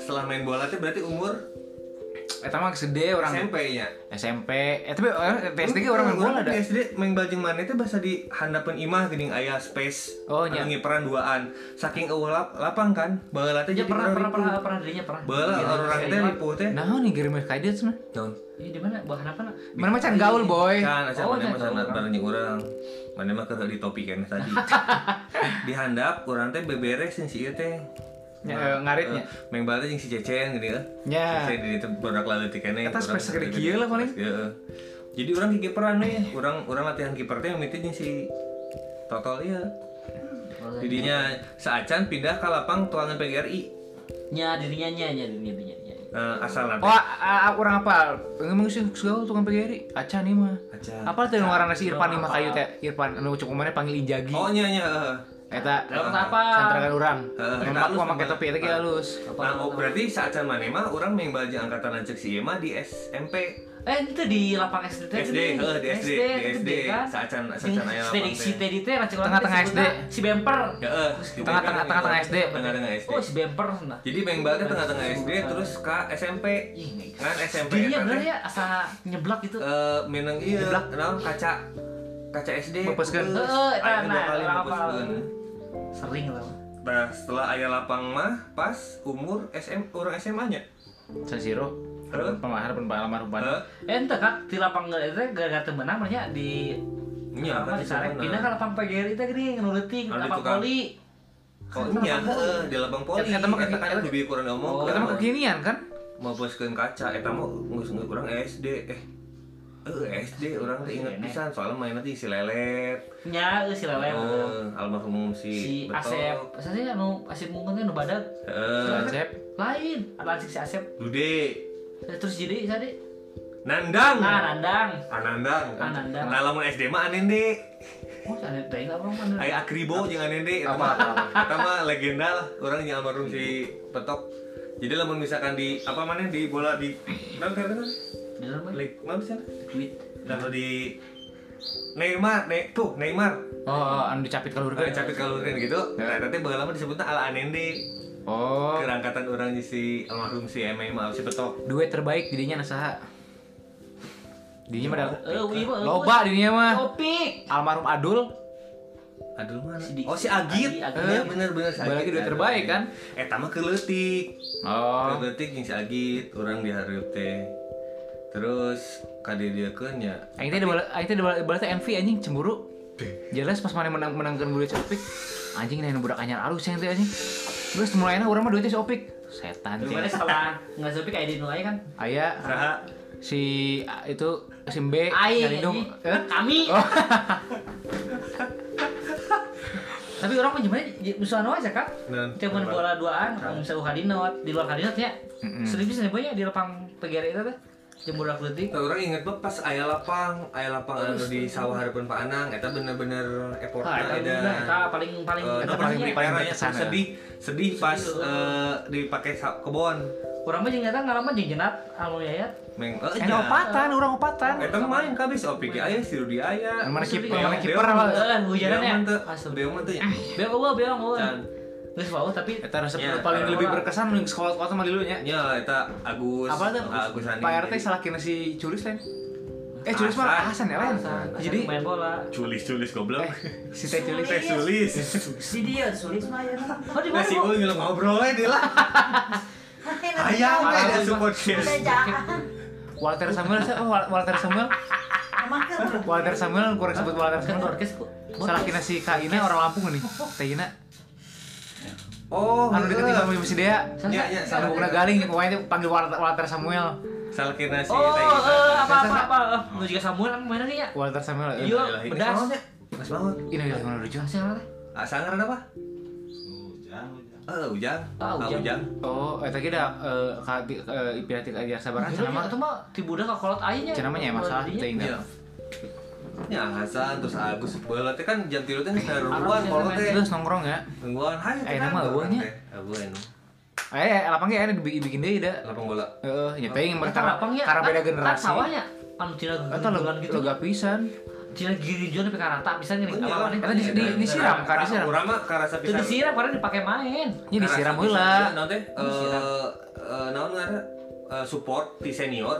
Speaker 1: Setelah main bola tuh berarti umur
Speaker 2: Eta Eh, mah gede orang
Speaker 1: SMP-nya.
Speaker 2: SMP eh tapi eh, PSD ge orang main bola
Speaker 1: Orang
Speaker 2: ada
Speaker 1: di SD main bal jeung mana itu bahasa di handapeun imah geuning aya space.
Speaker 2: Oh, nya.
Speaker 1: Anu ngiperan duaan. Saking eueuh lap- lapang kan, baheula teh
Speaker 3: Ya
Speaker 1: jadi
Speaker 3: pernah pernah
Speaker 1: orang
Speaker 3: pernah
Speaker 1: ripuh.
Speaker 3: pernah dirinya pernah.
Speaker 1: Baheula
Speaker 3: Iya,
Speaker 1: orang
Speaker 3: iya,
Speaker 1: teh
Speaker 3: iya.
Speaker 1: ripuh teh.
Speaker 2: Nah, nih kirim kadet mah.
Speaker 1: Naon?
Speaker 3: Ini di mana? Bahan apa? nak?
Speaker 2: Mana mah can gaul boy.
Speaker 1: Kan asa
Speaker 3: Oh,
Speaker 1: mana mah
Speaker 3: nya,
Speaker 1: sangat
Speaker 3: orang.
Speaker 1: bareng jeung urang. Mana mah keur di topi kan tadi. Dihandap urang teh beberes jeung si ieu teh.
Speaker 2: Ya, eh, ngaritnya.
Speaker 1: Eh, Main bal teh jeung si Cecen gini eh.
Speaker 2: Nya.
Speaker 1: Saya di itu berak lalu di kene.
Speaker 2: Eta
Speaker 1: urang
Speaker 2: space gede
Speaker 1: gede-gede.
Speaker 2: kieu lah paling.
Speaker 1: Heeh. Jadi orang ke kiperan nih, orang orang latihan kiper teh mimiti jeung si Totol ieu. Didinya saacan pindah ke lapang tuangan PGRI.
Speaker 3: Nya dirinya nya nya dirinya dirinya. nya.
Speaker 1: Eh, asal nanti.
Speaker 2: Oh, a- a- orang apa? Ngomong sih gaul tukang PGRI. Aca nih mah.
Speaker 1: Acan.
Speaker 2: Apa teh nu ngaranna si Irfan nih mah
Speaker 3: Apa?
Speaker 2: kayu teh Irfan anu cukup mana panggil Injagi. Eh,
Speaker 1: Oh nya nya. heeh.
Speaker 2: Eta
Speaker 3: Dalam apa?
Speaker 2: santrakan urang.
Speaker 1: Heeh, eta
Speaker 2: Nempat
Speaker 1: halus
Speaker 2: mah make
Speaker 1: namanya.
Speaker 2: topi eta ge halus.
Speaker 1: Nah, oh, berarti saacan mana mah orang main baju angkatan lanjut si Ima di SMP.
Speaker 3: Eh itu di lapang SD teh.
Speaker 1: SD, heeh,
Speaker 3: gede.
Speaker 1: oh, di SD, di SD.
Speaker 3: kan?
Speaker 1: Saacan
Speaker 3: Jeung
Speaker 1: saacan aya lapang
Speaker 3: Spediksi
Speaker 1: teh.
Speaker 3: teh di teh racun
Speaker 2: Tengah-tengah
Speaker 3: orang teh
Speaker 2: SD.
Speaker 3: sebutna Si bemper.
Speaker 1: Heeh, di
Speaker 2: Tengah-tengah- tengah-tengah SD.
Speaker 1: gitu. Tengah-tengah SD.
Speaker 3: Oh Iya, si bemper nah.
Speaker 1: Jadi main bal teh tengah-tengah SD terus ke SMP.
Speaker 3: Ih, Iya, nggak
Speaker 1: Kan SMP
Speaker 3: Dirinya
Speaker 1: eta
Speaker 3: bener
Speaker 1: teh,
Speaker 3: ya asa nyeblak gitu.
Speaker 1: eh meneng ieu,
Speaker 2: Jeblak.
Speaker 1: naon kaca. kaca SD
Speaker 2: Bapaskeun.
Speaker 1: putus.
Speaker 3: Heeh, eta
Speaker 1: Aya dua
Speaker 3: Eh, nah,
Speaker 1: kali
Speaker 3: lapang.
Speaker 1: bapaskeun.
Speaker 3: Sering lah.
Speaker 1: Nah, setelah ayah lapang mah pas umur SM orang SMA nya.
Speaker 2: San Siro.
Speaker 1: Terus?
Speaker 2: Pemahar pengalaman
Speaker 1: Heeh.
Speaker 2: rupanya.
Speaker 3: Eh ente kak di lapang itu gara-gara temenang makanya di
Speaker 1: Iya,
Speaker 3: apa,
Speaker 1: kan
Speaker 3: di sarek
Speaker 1: disana.
Speaker 3: pindah ke lapang PGRI teh gini ngeluleting
Speaker 1: Anu di
Speaker 3: lapang
Speaker 1: tukang.
Speaker 3: poli.
Speaker 1: Oh iya, heeh, di lapang poli.
Speaker 2: Eta- eta mah kaki-
Speaker 1: Eta kan
Speaker 2: eta-
Speaker 1: lebih kurang ngomong.
Speaker 2: Oh, itu mah kekinian kan?
Speaker 1: mau boskeun kaca Eh, eta mah geus urang SD eh eh SD orang teh inget
Speaker 3: Nenek.
Speaker 1: pisan soalnya main nanti si lelet
Speaker 3: Nya eh, si lele.
Speaker 1: Eh, almarhum
Speaker 3: Si
Speaker 1: si
Speaker 3: Asep,
Speaker 1: Betok.
Speaker 3: saya anu Asep mungkin teh nu badag
Speaker 1: Heeh.
Speaker 2: Cep.
Speaker 3: lain. Ada asik si Asep.
Speaker 1: Eh, Dude
Speaker 3: Terus jadi tadi
Speaker 1: Nandang
Speaker 3: ah nandang.
Speaker 1: Anandang
Speaker 3: Anandang.
Speaker 1: Nah, lamun SD mah Anende
Speaker 3: Oh, si Asep teh enggak apa-apa.
Speaker 1: Aya Akribo jeung Anende eta
Speaker 2: Apa,
Speaker 1: mah
Speaker 2: apa,
Speaker 1: eta mah legenda lah urang jeung almarhum si Betok jadi lamun misalkan di apa mana di bola di non kayak mana?
Speaker 3: Di dalam mah,
Speaker 1: Leg, mana bisa?
Speaker 3: duit.
Speaker 1: Dan di Neymar, ne, tuh Neymar,
Speaker 2: Oh, anu dicapit kalur
Speaker 1: Bukan
Speaker 2: kan?
Speaker 1: capit kalurin gitu. Nah, nanti bakal lama disebutnya ala anende.
Speaker 2: Oh,
Speaker 1: Kerangkatan orang si almarhum si MMA si Betok.
Speaker 2: duet terbaik dirinya nasaha. Dirinya mah ada-
Speaker 3: Eh, wih, mah,
Speaker 2: loba dirinya mah.
Speaker 3: Topik.
Speaker 2: Almarhum Adul.
Speaker 1: Aduh mana?
Speaker 3: Si Di-
Speaker 1: Oh si Agit.
Speaker 3: Agi,
Speaker 1: Iya
Speaker 3: Agit.
Speaker 1: bener-bener si
Speaker 2: Balik lagi duit
Speaker 1: Aduh,
Speaker 2: terbaik,
Speaker 1: anjing.
Speaker 2: kan?
Speaker 1: Eh tama keletik.
Speaker 2: Oh,
Speaker 1: Keletik yang si Agit orang dihareup teh. Terus kadedeukeun nya.
Speaker 2: aing teh dibal aing teh dibal balas envy anjing cemburu. Jelas pas mana menang menangkan gue si Opik. Anjing nih budak anyar alus yang teh anjing. Terus mulainya urang mah duitnya si Opik. Setan
Speaker 3: Gimana
Speaker 2: sih.
Speaker 3: setelah nggak sepi kayak di nulai kan?
Speaker 2: Aya
Speaker 1: Saha?
Speaker 2: si A- itu si Mbe
Speaker 3: Aing,
Speaker 2: nyalindung. Eh?
Speaker 3: anjing. iya. kami.
Speaker 2: Oh.
Speaker 3: Tapi orang mah gimana? Musuhan aja kan?
Speaker 1: Nah,
Speaker 3: Tiap main
Speaker 1: apa?
Speaker 3: bola duaan, kalau misalnya kadinot, di luar kadinot ya. Sering bisa banyak ya, di lapang PGRI itu teh. Jemur aku detik.
Speaker 1: Tah, Orang inget banget pas aya lapang, aya lapang anu di sawah harapan Pak Anang, eta bener-bener
Speaker 3: Ah,
Speaker 1: effortna
Speaker 3: itu
Speaker 1: ada.
Speaker 3: udah, kita paling paling
Speaker 1: Eh, no,
Speaker 2: paling
Speaker 3: eta
Speaker 1: paling
Speaker 3: paling
Speaker 2: beri- paling
Speaker 1: paling
Speaker 2: berkesan, ya.
Speaker 1: sedih sedih pas
Speaker 3: Sedih,
Speaker 1: eh, dipakai sa- kebon
Speaker 3: Orang mah jeung eta ngaran mah jeung jenat anu yayat.
Speaker 1: Meng
Speaker 2: Eh, opatan, urang opatan.
Speaker 1: Eta mah main kabis OP ge aya si Rudi aya.
Speaker 2: Mana
Speaker 3: kiper,
Speaker 2: mana kiper,
Speaker 3: Eh, hujanan ya?
Speaker 2: Ah,
Speaker 1: Asal
Speaker 3: Asup.
Speaker 1: dia mah teh.
Speaker 3: Beong eueuh, beong eueuh.
Speaker 1: Can.
Speaker 3: Geus bau tapi
Speaker 2: Eta resep
Speaker 1: Ya,
Speaker 2: paling
Speaker 1: orang
Speaker 2: lebih
Speaker 3: orang.
Speaker 2: berkesan lu sekolah-sekolah sama dulu nya.
Speaker 1: Nya eta Agus.
Speaker 2: Apa tuh?
Speaker 1: Agus Hani.
Speaker 2: Pak RT salah kena si Culis lain. Eh Culis
Speaker 1: Hasan.
Speaker 2: mah Hasan ya lain.
Speaker 3: Alasan,
Speaker 2: Jadi
Speaker 3: main bola.
Speaker 1: Culis-culis goblok.
Speaker 2: eh si Teh Culis.
Speaker 1: Teh sulis.
Speaker 4: Si dia sulit mah ya.
Speaker 3: Oh, di
Speaker 1: Nah
Speaker 3: mana?
Speaker 1: si
Speaker 3: Bu?
Speaker 1: Ul ngilu ngobrol we dia lah. Hayang we
Speaker 2: Parah,
Speaker 1: ada
Speaker 2: lu,
Speaker 1: support guys.
Speaker 2: Walter Samuel, saya- oh, Wal- Walter Samuel, Walter Samuel, kurang sebut Walter
Speaker 3: Kan
Speaker 2: Samuel.
Speaker 3: podcast Bu.
Speaker 2: Salah kena si Kak Ina orang Lampung nih. Teh Ina,
Speaker 1: Oh,
Speaker 2: anu deket
Speaker 1: heeh.
Speaker 2: sama si Dea.
Speaker 1: Nya nya salah
Speaker 2: Salah bukan garing, pokoknya dia panggil Walter, Walter Samuel.
Speaker 1: Salah kena si
Speaker 3: Oh,
Speaker 1: Teh Ina.
Speaker 3: eh, apa apa apa. Nu juga Samuel kan mainan ya.
Speaker 2: Walter Samuel. eh,
Speaker 3: Iya.
Speaker 1: Ayolah, ini
Speaker 3: pedas.
Speaker 1: salah, Nya. Mas banget.
Speaker 2: Ini udah mana lucu.
Speaker 3: Masih apa teh?
Speaker 1: Ah sangar apa? Eh, Ujang. Ah,
Speaker 3: Ah, Ujang.
Speaker 1: Ujang.
Speaker 2: Oh, eh tadi dah Kak Ipirati Kak Diaksa Barang
Speaker 3: Itu
Speaker 2: cenah
Speaker 3: mah
Speaker 2: mah
Speaker 3: itu mah ti budak kakolot aing ya. nya.
Speaker 2: cenah mah nya masalah teh
Speaker 1: Iya.
Speaker 2: ingat.
Speaker 1: Ya Hasan terus Agus Bola teh kan jam tilu teh
Speaker 3: Arab
Speaker 1: saruruan
Speaker 3: sih,
Speaker 1: kalau
Speaker 3: temen.
Speaker 1: teh.
Speaker 2: Terus nongkrong ya.
Speaker 1: Tungguan hai. kan?
Speaker 2: Eh, nama
Speaker 3: ya?
Speaker 2: eueuhnya.
Speaker 1: Eueuh anu.
Speaker 2: Eh, lapang ge ane dibikin Eh, deui da.
Speaker 1: Lapang bola.
Speaker 2: Heeh, nya teuing
Speaker 3: Mereka
Speaker 2: karena
Speaker 3: lapangnya
Speaker 2: ya, karena beda generasi.
Speaker 3: ya. Kan- sawahnya anu tina
Speaker 2: Eta
Speaker 3: gegeran
Speaker 2: lega-
Speaker 3: gitu.
Speaker 2: lega pisan.
Speaker 3: Tina girijuan tapi karata bisa ngene
Speaker 1: Iya,
Speaker 3: apa
Speaker 1: kan
Speaker 3: maneh.
Speaker 2: Eta di- di- disiram, kan, disiram.
Speaker 1: Urang mah karasa
Speaker 3: Itu
Speaker 1: pisan.
Speaker 3: disiram karena dipakai main.
Speaker 2: Nya
Speaker 1: Karasa pisan
Speaker 2: disiram heula.
Speaker 1: dia, naon Nah, teh?
Speaker 3: Disiram.
Speaker 1: Eh, eh, naon ngaranna? Eh, support ti senior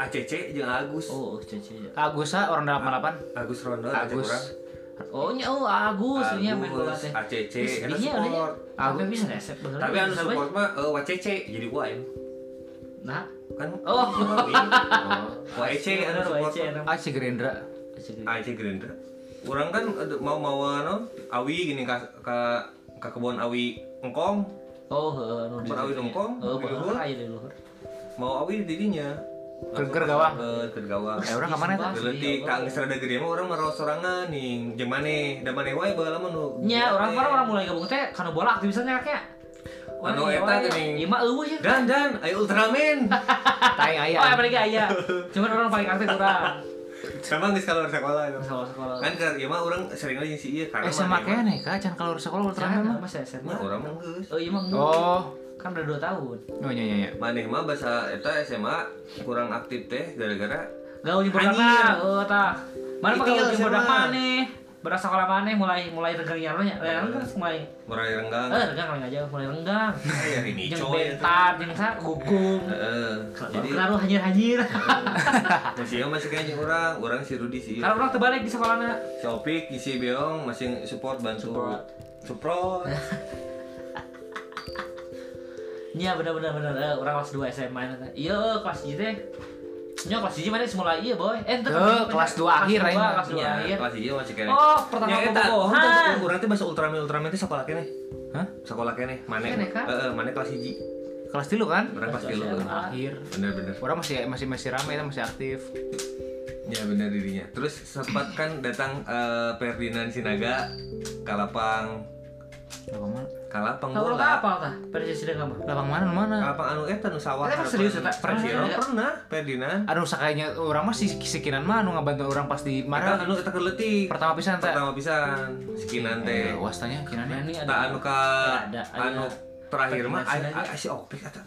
Speaker 1: ACC jeung Agus.
Speaker 3: Oh, cece ya.
Speaker 2: Agusa orang 88.
Speaker 1: Agus Rondo
Speaker 2: Agus.
Speaker 3: Oh, nya oh Agus nya main bola
Speaker 1: Agus
Speaker 3: teh. Iya,
Speaker 1: ACC eta
Speaker 3: Sedihnya
Speaker 1: support.
Speaker 3: udah. Aku bisa resep bener.
Speaker 1: Tapi anu support mah eh, WCC jadi wae.
Speaker 3: Nah, Iya,
Speaker 1: Kan
Speaker 3: Oh.
Speaker 1: WC anu support. mah.
Speaker 2: Ah si Gerendra.
Speaker 1: Aja Gerindra. Orang kan aduh, mau mau ano, awi gini ka ka, ka kebun awi engkong,
Speaker 3: Oh, heeh, anu di-
Speaker 1: Perawi dongkong,
Speaker 3: Heeh,
Speaker 1: di
Speaker 3: perawi
Speaker 1: luhur.
Speaker 3: aja di luhur.
Speaker 1: mau awi dirinya.
Speaker 2: Ke- ke gawang.
Speaker 1: Ke ke gawang.
Speaker 2: Eh orang kemana
Speaker 1: Iya,
Speaker 2: eta?
Speaker 1: Geleutik ka geus rada gede mah urang mah sorangan nih, jeung maneh, da maneh wae baheula mah nu. Iya,
Speaker 3: Nya, Iya, orang orang orang mulai gabung teh karena bola aktivisnya kakek.
Speaker 1: Anu eta geuning.
Speaker 3: Iya mah eueuh ya.
Speaker 1: Dan dan, ayo Ultraman.
Speaker 2: Taing
Speaker 3: Oh,
Speaker 2: aya.
Speaker 3: apalagi aya. Cuman orang paling aktif kurang.
Speaker 1: Sama geus kalau sekolah itu.
Speaker 3: Sama sekolah.
Speaker 1: Kan keur ieu mah urang sering lagi si ieu karena
Speaker 2: Eh sama keneh Kak, can kalau sekolah
Speaker 3: Jangan
Speaker 2: Ultraman mah.
Speaker 3: mah saya SMA.
Speaker 1: mah urang mah geus.
Speaker 3: Oh, iya mah enggak.
Speaker 2: Oh,
Speaker 3: Kan udah 2 tahun.
Speaker 2: oh nya nya nya.
Speaker 1: Maneh mah bahasa eta SMA kurang aktif teh gara-gara
Speaker 3: Gaul jeung bodak
Speaker 1: Anjir.
Speaker 3: mah, oh tah. Mana pakai
Speaker 1: Itil
Speaker 3: gaul jeung bodak
Speaker 1: SMA.
Speaker 3: maneh? berasa kalau maneh mulai mulai renggang ya mulai renggang mulai
Speaker 1: Murai
Speaker 3: eh
Speaker 1: renggang.
Speaker 3: renggang kalau nggak jauh mulai renggang
Speaker 1: Ya ini
Speaker 3: yang
Speaker 1: coy.
Speaker 3: bentar yang sa gugung
Speaker 1: Heeh. Jadi
Speaker 3: terlalu hanyir hanyir
Speaker 1: masih masih kayaknya orang, orang si Rudi sih.
Speaker 3: kalau orang terbalik di sekolahnya
Speaker 1: Si Opik, si Beong masih support bantu.
Speaker 3: Support.
Speaker 1: Support.
Speaker 3: Iya benar benar benar Eh, orang kelas 2 SMA nanti. Iya kelas hiji teh. Nya kelas hiji mana semula iya boy. Eh ente
Speaker 2: Tuh, kelas dua akhir,
Speaker 3: kelas
Speaker 2: Rain.
Speaker 3: dua, kelas 2
Speaker 1: Ya,
Speaker 3: akhir.
Speaker 1: kelas iya masih kayaknya.
Speaker 3: Oh, pertama
Speaker 1: Ya, eta,
Speaker 3: kebobohan.
Speaker 1: orang teh- Orang teh bahasa Ultraman Ultraman teh sekolah kene.
Speaker 2: Hah?
Speaker 1: Sekolah kene, mana?
Speaker 3: Kene, Kak?
Speaker 1: Heeh, mana kelas hiji.
Speaker 2: Kelas dulu kan?
Speaker 1: Orang kelas tilu.
Speaker 2: Akhir.
Speaker 1: Bener-bener.
Speaker 2: Orang masih masih masih ramai, masih aktif.
Speaker 1: Ya benar dirinya. Terus sempat kan datang eh, Ferdinand Sinaga, Kalapang,
Speaker 2: Lapang mana?
Speaker 1: Kalapang
Speaker 3: Tahu
Speaker 1: bola.
Speaker 3: orang apa tah? Persis sudah kamu.
Speaker 2: Lapang mana? Mana?
Speaker 1: Kalapang anu eta nu sawah.
Speaker 3: Eta kan
Speaker 1: harapan
Speaker 3: serius, eta?
Speaker 1: Pernah
Speaker 3: Pernah,
Speaker 1: Siro,
Speaker 3: ya?
Speaker 1: pernah Ferdinand.
Speaker 2: Aduh sakainya orang mah si sekinan mah anu ngabantu orang pas di
Speaker 1: Eta
Speaker 2: marah.
Speaker 1: anu eta keleutik.
Speaker 2: Pertama pisan teh.
Speaker 1: Pertama pisan sekinan teh.
Speaker 2: Eh, wastanya
Speaker 3: Nah,
Speaker 2: kinannya.
Speaker 3: ini
Speaker 1: Tah
Speaker 3: ada
Speaker 1: anu ka
Speaker 3: Ada, ada.
Speaker 1: anu terakhir mah
Speaker 3: Ferdinand
Speaker 1: a- a- si Opik eta.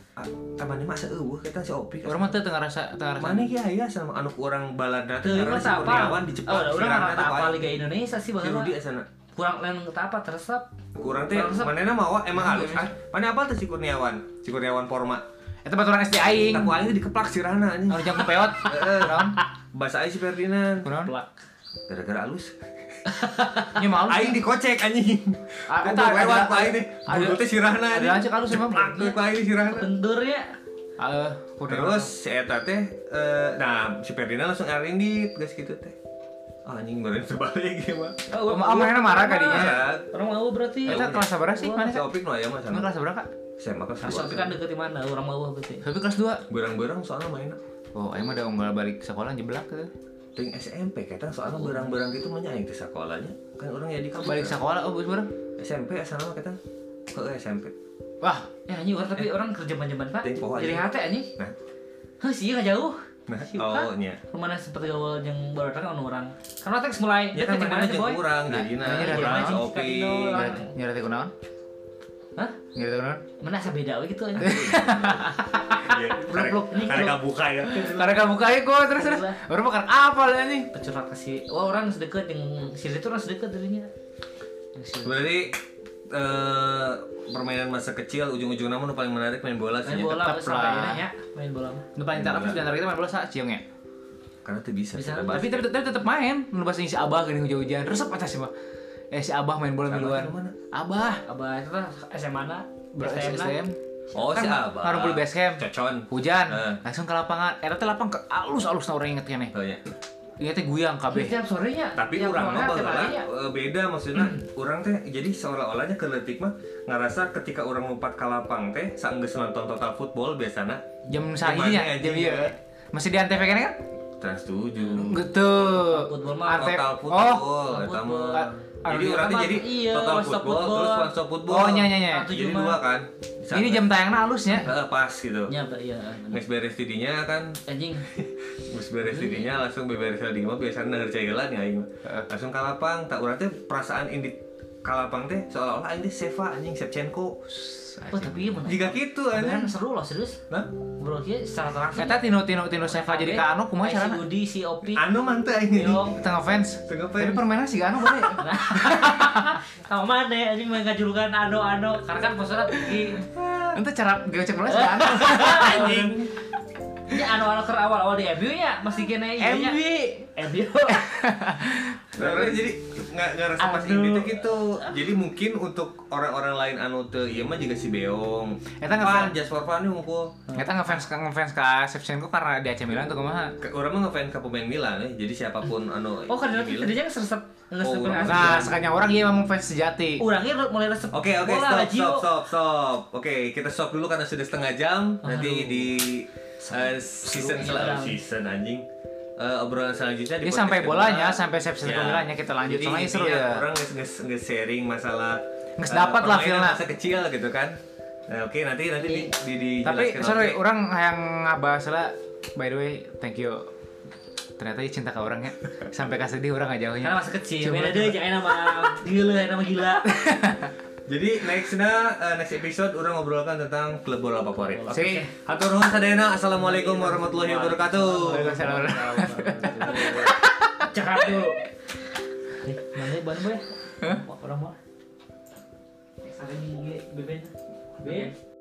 Speaker 1: Tamane mah seueuh kita si Opik.
Speaker 2: Orang mah teu teu ngarasa teu ngarasa.
Speaker 1: Mana ya ya sama anu orang balada
Speaker 3: Teu
Speaker 1: ngaran
Speaker 3: mah
Speaker 1: si
Speaker 3: tak apa.
Speaker 1: Kurniawan di Jepang.
Speaker 3: Oh, orang
Speaker 1: Sirana
Speaker 3: nggak
Speaker 1: teh
Speaker 3: apa
Speaker 1: bae.
Speaker 3: Liga Indonesia
Speaker 1: Si
Speaker 3: sih bahasa.
Speaker 1: Rudi sana.
Speaker 3: Kurang lain nggak apa teresap.
Speaker 1: Kurang teh
Speaker 3: Kurang sep.
Speaker 1: manehna mawa emang halus ah. Mana apa tuh si Kurniawan? Si Kurniawan Forma.
Speaker 2: Eta mah Eh, orang SD aing.
Speaker 1: Tapi aing dikeplak si Rana anjing.
Speaker 2: Anu jangku peot. Naon?
Speaker 1: Bahasa aing si Ferdinand.
Speaker 2: Kunaon?
Speaker 3: Plak.
Speaker 1: Gara-gara halus.
Speaker 2: Nya mau.
Speaker 1: Aing dikocek anjing.
Speaker 2: Ah,
Speaker 1: Aku
Speaker 2: eta ada-
Speaker 1: lewat
Speaker 2: ada-
Speaker 1: ku aing teh.
Speaker 2: ada-
Speaker 1: Bulu teh si Rana
Speaker 2: Ada aja
Speaker 1: anjing.
Speaker 2: kalau sama
Speaker 1: Plak
Speaker 2: plak.
Speaker 1: ku aing si Rana.
Speaker 3: Benturnya.
Speaker 2: Eh,
Speaker 1: Terus si Eta teh, eh, nah si Ferdinand langsung ngarindit, guys gitu teh. Ah, anjing baru terbalik ya mah.
Speaker 2: Oh, ma- oh, mana marah kadinya?
Speaker 1: Ya,
Speaker 3: Orang mau berarti.
Speaker 2: Eta Eh, kelas sabar sih mana?
Speaker 1: si Opik mah ya mah sana.
Speaker 2: Kamu kelas berapa? Kak?
Speaker 1: Saya mah kelas
Speaker 3: Asal
Speaker 1: dua.
Speaker 3: kan deket di mana? Orang mau berarti.
Speaker 2: Tapi kelas 2.
Speaker 1: Berang-berang soalnya mainnya.
Speaker 2: Oh, aing mah udah unggal balik sekolah jeblak gitu.
Speaker 1: Ting SMP kita soalnya berang-berang gitu mah nyaing teh sekolahnya. Kan orang ya di kampus.
Speaker 2: Balik
Speaker 1: kan.
Speaker 2: sekolah oh geus bareng.
Speaker 1: SMP asal mah kita ke SMP.
Speaker 2: Wah,
Speaker 3: Ya anjing orang
Speaker 1: Eh,
Speaker 3: tapi orang kerja banjaman pak.
Speaker 1: Teh, pohon,
Speaker 3: Jadi
Speaker 1: anjing.
Speaker 3: hati anjing.
Speaker 1: Nah,
Speaker 3: Heh sih nggak jauh.
Speaker 1: nah
Speaker 3: Si Pak.
Speaker 1: oh nya.
Speaker 3: Kemana sempat gaul yang baru datang kan orang Karena teks mulai
Speaker 1: Ya
Speaker 3: dia
Speaker 1: kan
Speaker 3: kerja
Speaker 1: mana
Speaker 3: sih,
Speaker 1: jeung kurang jadi nah
Speaker 2: iya, iya,
Speaker 1: kurang
Speaker 2: iya,
Speaker 1: si
Speaker 3: iya,
Speaker 1: Opik.
Speaker 3: iya, iya, iya.
Speaker 2: nyari teh kunaon?
Speaker 3: Hah?
Speaker 2: Nyari teh kunaon?
Speaker 3: Mana asa beda we gitu aja
Speaker 1: Iya,
Speaker 3: Blok, blok. Ini
Speaker 1: karek
Speaker 3: blok.
Speaker 1: kabuka ya.
Speaker 2: Karena kamu kaya kok terus terus. Baru makan apa lah nih?
Speaker 3: Pecurat ke si Wah oh, orang sedekat yang Si itu orang sedekat dirinya Yang si-
Speaker 1: Berarti eh, permainan masa kecil ujung-ujungnya mah nu paling menarik main bola sih.
Speaker 3: Main
Speaker 1: nya.
Speaker 3: bola
Speaker 2: tetep
Speaker 3: sampai
Speaker 2: lah.
Speaker 3: ini nya Main bola mah.
Speaker 2: Nu paling terapis di antara kita main bola sa ciong ya.
Speaker 1: Karena tuh bisa.
Speaker 3: Bisa,
Speaker 1: kita bahas.
Speaker 2: Tapi tapi tapi tetap main. Nu bahasa si Abah geuning hujan-hujan. Resep atas sih mah. Eh si Abah main bola
Speaker 1: Abah
Speaker 2: miluan.
Speaker 1: itu mana?
Speaker 2: Abah
Speaker 3: Abah itu lah SMA na
Speaker 2: berarti
Speaker 3: na.
Speaker 2: STM.
Speaker 1: Oh si
Speaker 2: Kan
Speaker 1: Abah.
Speaker 2: ngarumpul base camp.
Speaker 1: Cocon.
Speaker 2: Hujan,
Speaker 1: Eh.
Speaker 2: langsung ke lapangan. Eta teh lapang ke alus-alus na orang inget nih.
Speaker 1: Oh, ya.
Speaker 2: Inget teh guyang
Speaker 3: Iya,
Speaker 2: kabeh.
Speaker 3: Tiap sorenya
Speaker 1: Tapi
Speaker 3: tiap
Speaker 1: orang mah
Speaker 3: malam, tiap ya.
Speaker 1: baheula,
Speaker 3: harinya.
Speaker 1: eh, beda maksudnya orang teh jadi seolah-olahnya keletik mah ngerasa ketika orang lompat ke lapang teh saenggeus nonton total football biasana
Speaker 2: Jam
Speaker 1: Jam
Speaker 2: saat
Speaker 1: mana
Speaker 2: ini ya,
Speaker 1: anjing,
Speaker 2: jam
Speaker 1: ya?
Speaker 2: iya. Masih di antv kan?
Speaker 1: trans 7.
Speaker 2: Gitu.
Speaker 3: Football mah
Speaker 2: Antep.
Speaker 1: Total
Speaker 2: Oh,
Speaker 1: football eta mah.
Speaker 3: football.
Speaker 1: Jadi
Speaker 2: Ah,
Speaker 1: orang teh
Speaker 3: iya,
Speaker 1: jadi
Speaker 3: iya,
Speaker 1: total
Speaker 3: one stop
Speaker 1: football
Speaker 3: football.
Speaker 1: terus one stop football.
Speaker 2: Oh, nya nya nya.
Speaker 3: Satu
Speaker 1: Jadi
Speaker 3: jam
Speaker 1: dua
Speaker 3: mah.
Speaker 1: kan.
Speaker 2: Ini jam tayangnya halusnya.
Speaker 1: Eh, pas gitu.
Speaker 3: Nya, Pak, iya
Speaker 1: Nges beres tidinya kan
Speaker 3: Anjing
Speaker 1: Terus beres tidinya langsung beberes di mah biasanya ngeher cailan ya aing. mah. Langsung ka lapang, tak urang teh perasaan indi ka lapang teh seolah-olah aing teh Seva anjing Shevchenko.
Speaker 3: Wah tapi iya bener
Speaker 1: Jika gitu
Speaker 3: Beneran
Speaker 1: anjing.
Speaker 3: seru loh serius
Speaker 1: Nah,
Speaker 3: Bro kia secara langsung
Speaker 2: Eta Tino Tino Tino Seva jadi ka Anu kumaha
Speaker 3: Si
Speaker 2: carana?
Speaker 3: Budi, si Opi
Speaker 1: anu manteu aing ini.
Speaker 3: Yo.
Speaker 2: Tengah fans.
Speaker 1: Tengah fans.
Speaker 2: Tapi permainan sih Anu boleh.
Speaker 3: Tahu mana ya, anjing mereka julukan Ano Ano karena kan posternya tinggi.
Speaker 2: Ente cara gocek bola sih Anu.
Speaker 3: Anjing. Ya Ano Ano ker awal awal di ya, MU nya masih kena
Speaker 2: MB.
Speaker 3: nya. MU.
Speaker 1: Nah, jadi nggak ngerasa pas
Speaker 3: Aduh.
Speaker 1: ini teh gitu. Jadi mungkin untuk orang-orang lain anu teu ieu mah juga si Beong.
Speaker 2: Eta nggak
Speaker 1: Fan,
Speaker 2: fan.
Speaker 1: just for fun ngumpul.
Speaker 2: Eta ngefans ka ngefans ka Shevchenko karena di AC Milan tuh kumaha.
Speaker 1: Ke- Orang mah ngefans ke pemain Milan ya. Jadi siapapun anu
Speaker 3: Oh karena
Speaker 1: di
Speaker 3: itu
Speaker 1: Milan.
Speaker 3: tadinya ngeresep ngeresep
Speaker 1: Oh,
Speaker 3: asli.
Speaker 2: Nah, sekanya orang iya memang fans sejati.
Speaker 3: Urangnya mulai resep.
Speaker 1: Oke oke
Speaker 3: bola,
Speaker 1: stop,
Speaker 3: Lazio.
Speaker 1: stop stop stop. Oke kita stop dulu karena sudah setengah jam. Nanti di eh, season
Speaker 3: Seru,
Speaker 1: selanjutnya
Speaker 3: seru.
Speaker 1: season anjing Eh, obrolan selanjutnya
Speaker 2: Ini
Speaker 1: podcast
Speaker 2: sampai
Speaker 1: kedua.
Speaker 2: bolanya, sampai Shevchenko
Speaker 1: Ya.
Speaker 2: Milannya kita lanjut.
Speaker 1: Jadi
Speaker 2: Soalnya seru
Speaker 1: intinya
Speaker 2: ya.
Speaker 1: Orang nges nges nges sharing masalah
Speaker 2: Nges
Speaker 1: eh,
Speaker 2: dapat lah
Speaker 1: permainan
Speaker 2: feel-nya.
Speaker 1: masa kecil gitu kan. Nah, oke nanti nanti di, di,
Speaker 2: Tapi
Speaker 1: dijelaskan
Speaker 2: sorry,
Speaker 1: oleh-
Speaker 2: orang yang ngabahas lah. By the way, thank you. Ternyata ieu cinta ke orangnya sampai kasih sedih orang aja
Speaker 3: Karena masih kecil.
Speaker 2: Coba-
Speaker 3: Beda deh jangan nama gila, nama gila.
Speaker 1: Jadi nextnya eh, next episode orang ngobrolkan tentang klub bola favorit. Oke.
Speaker 2: Sip.
Speaker 1: Hatur nuhun sadayana. Assalamualaikum warahmatullahi wabarakatuh.
Speaker 2: Waalaikumsalam.
Speaker 3: Cakap dulu. Eh, Mana ya, ban boy? Orang mah. Sarang gigi beben. Beben.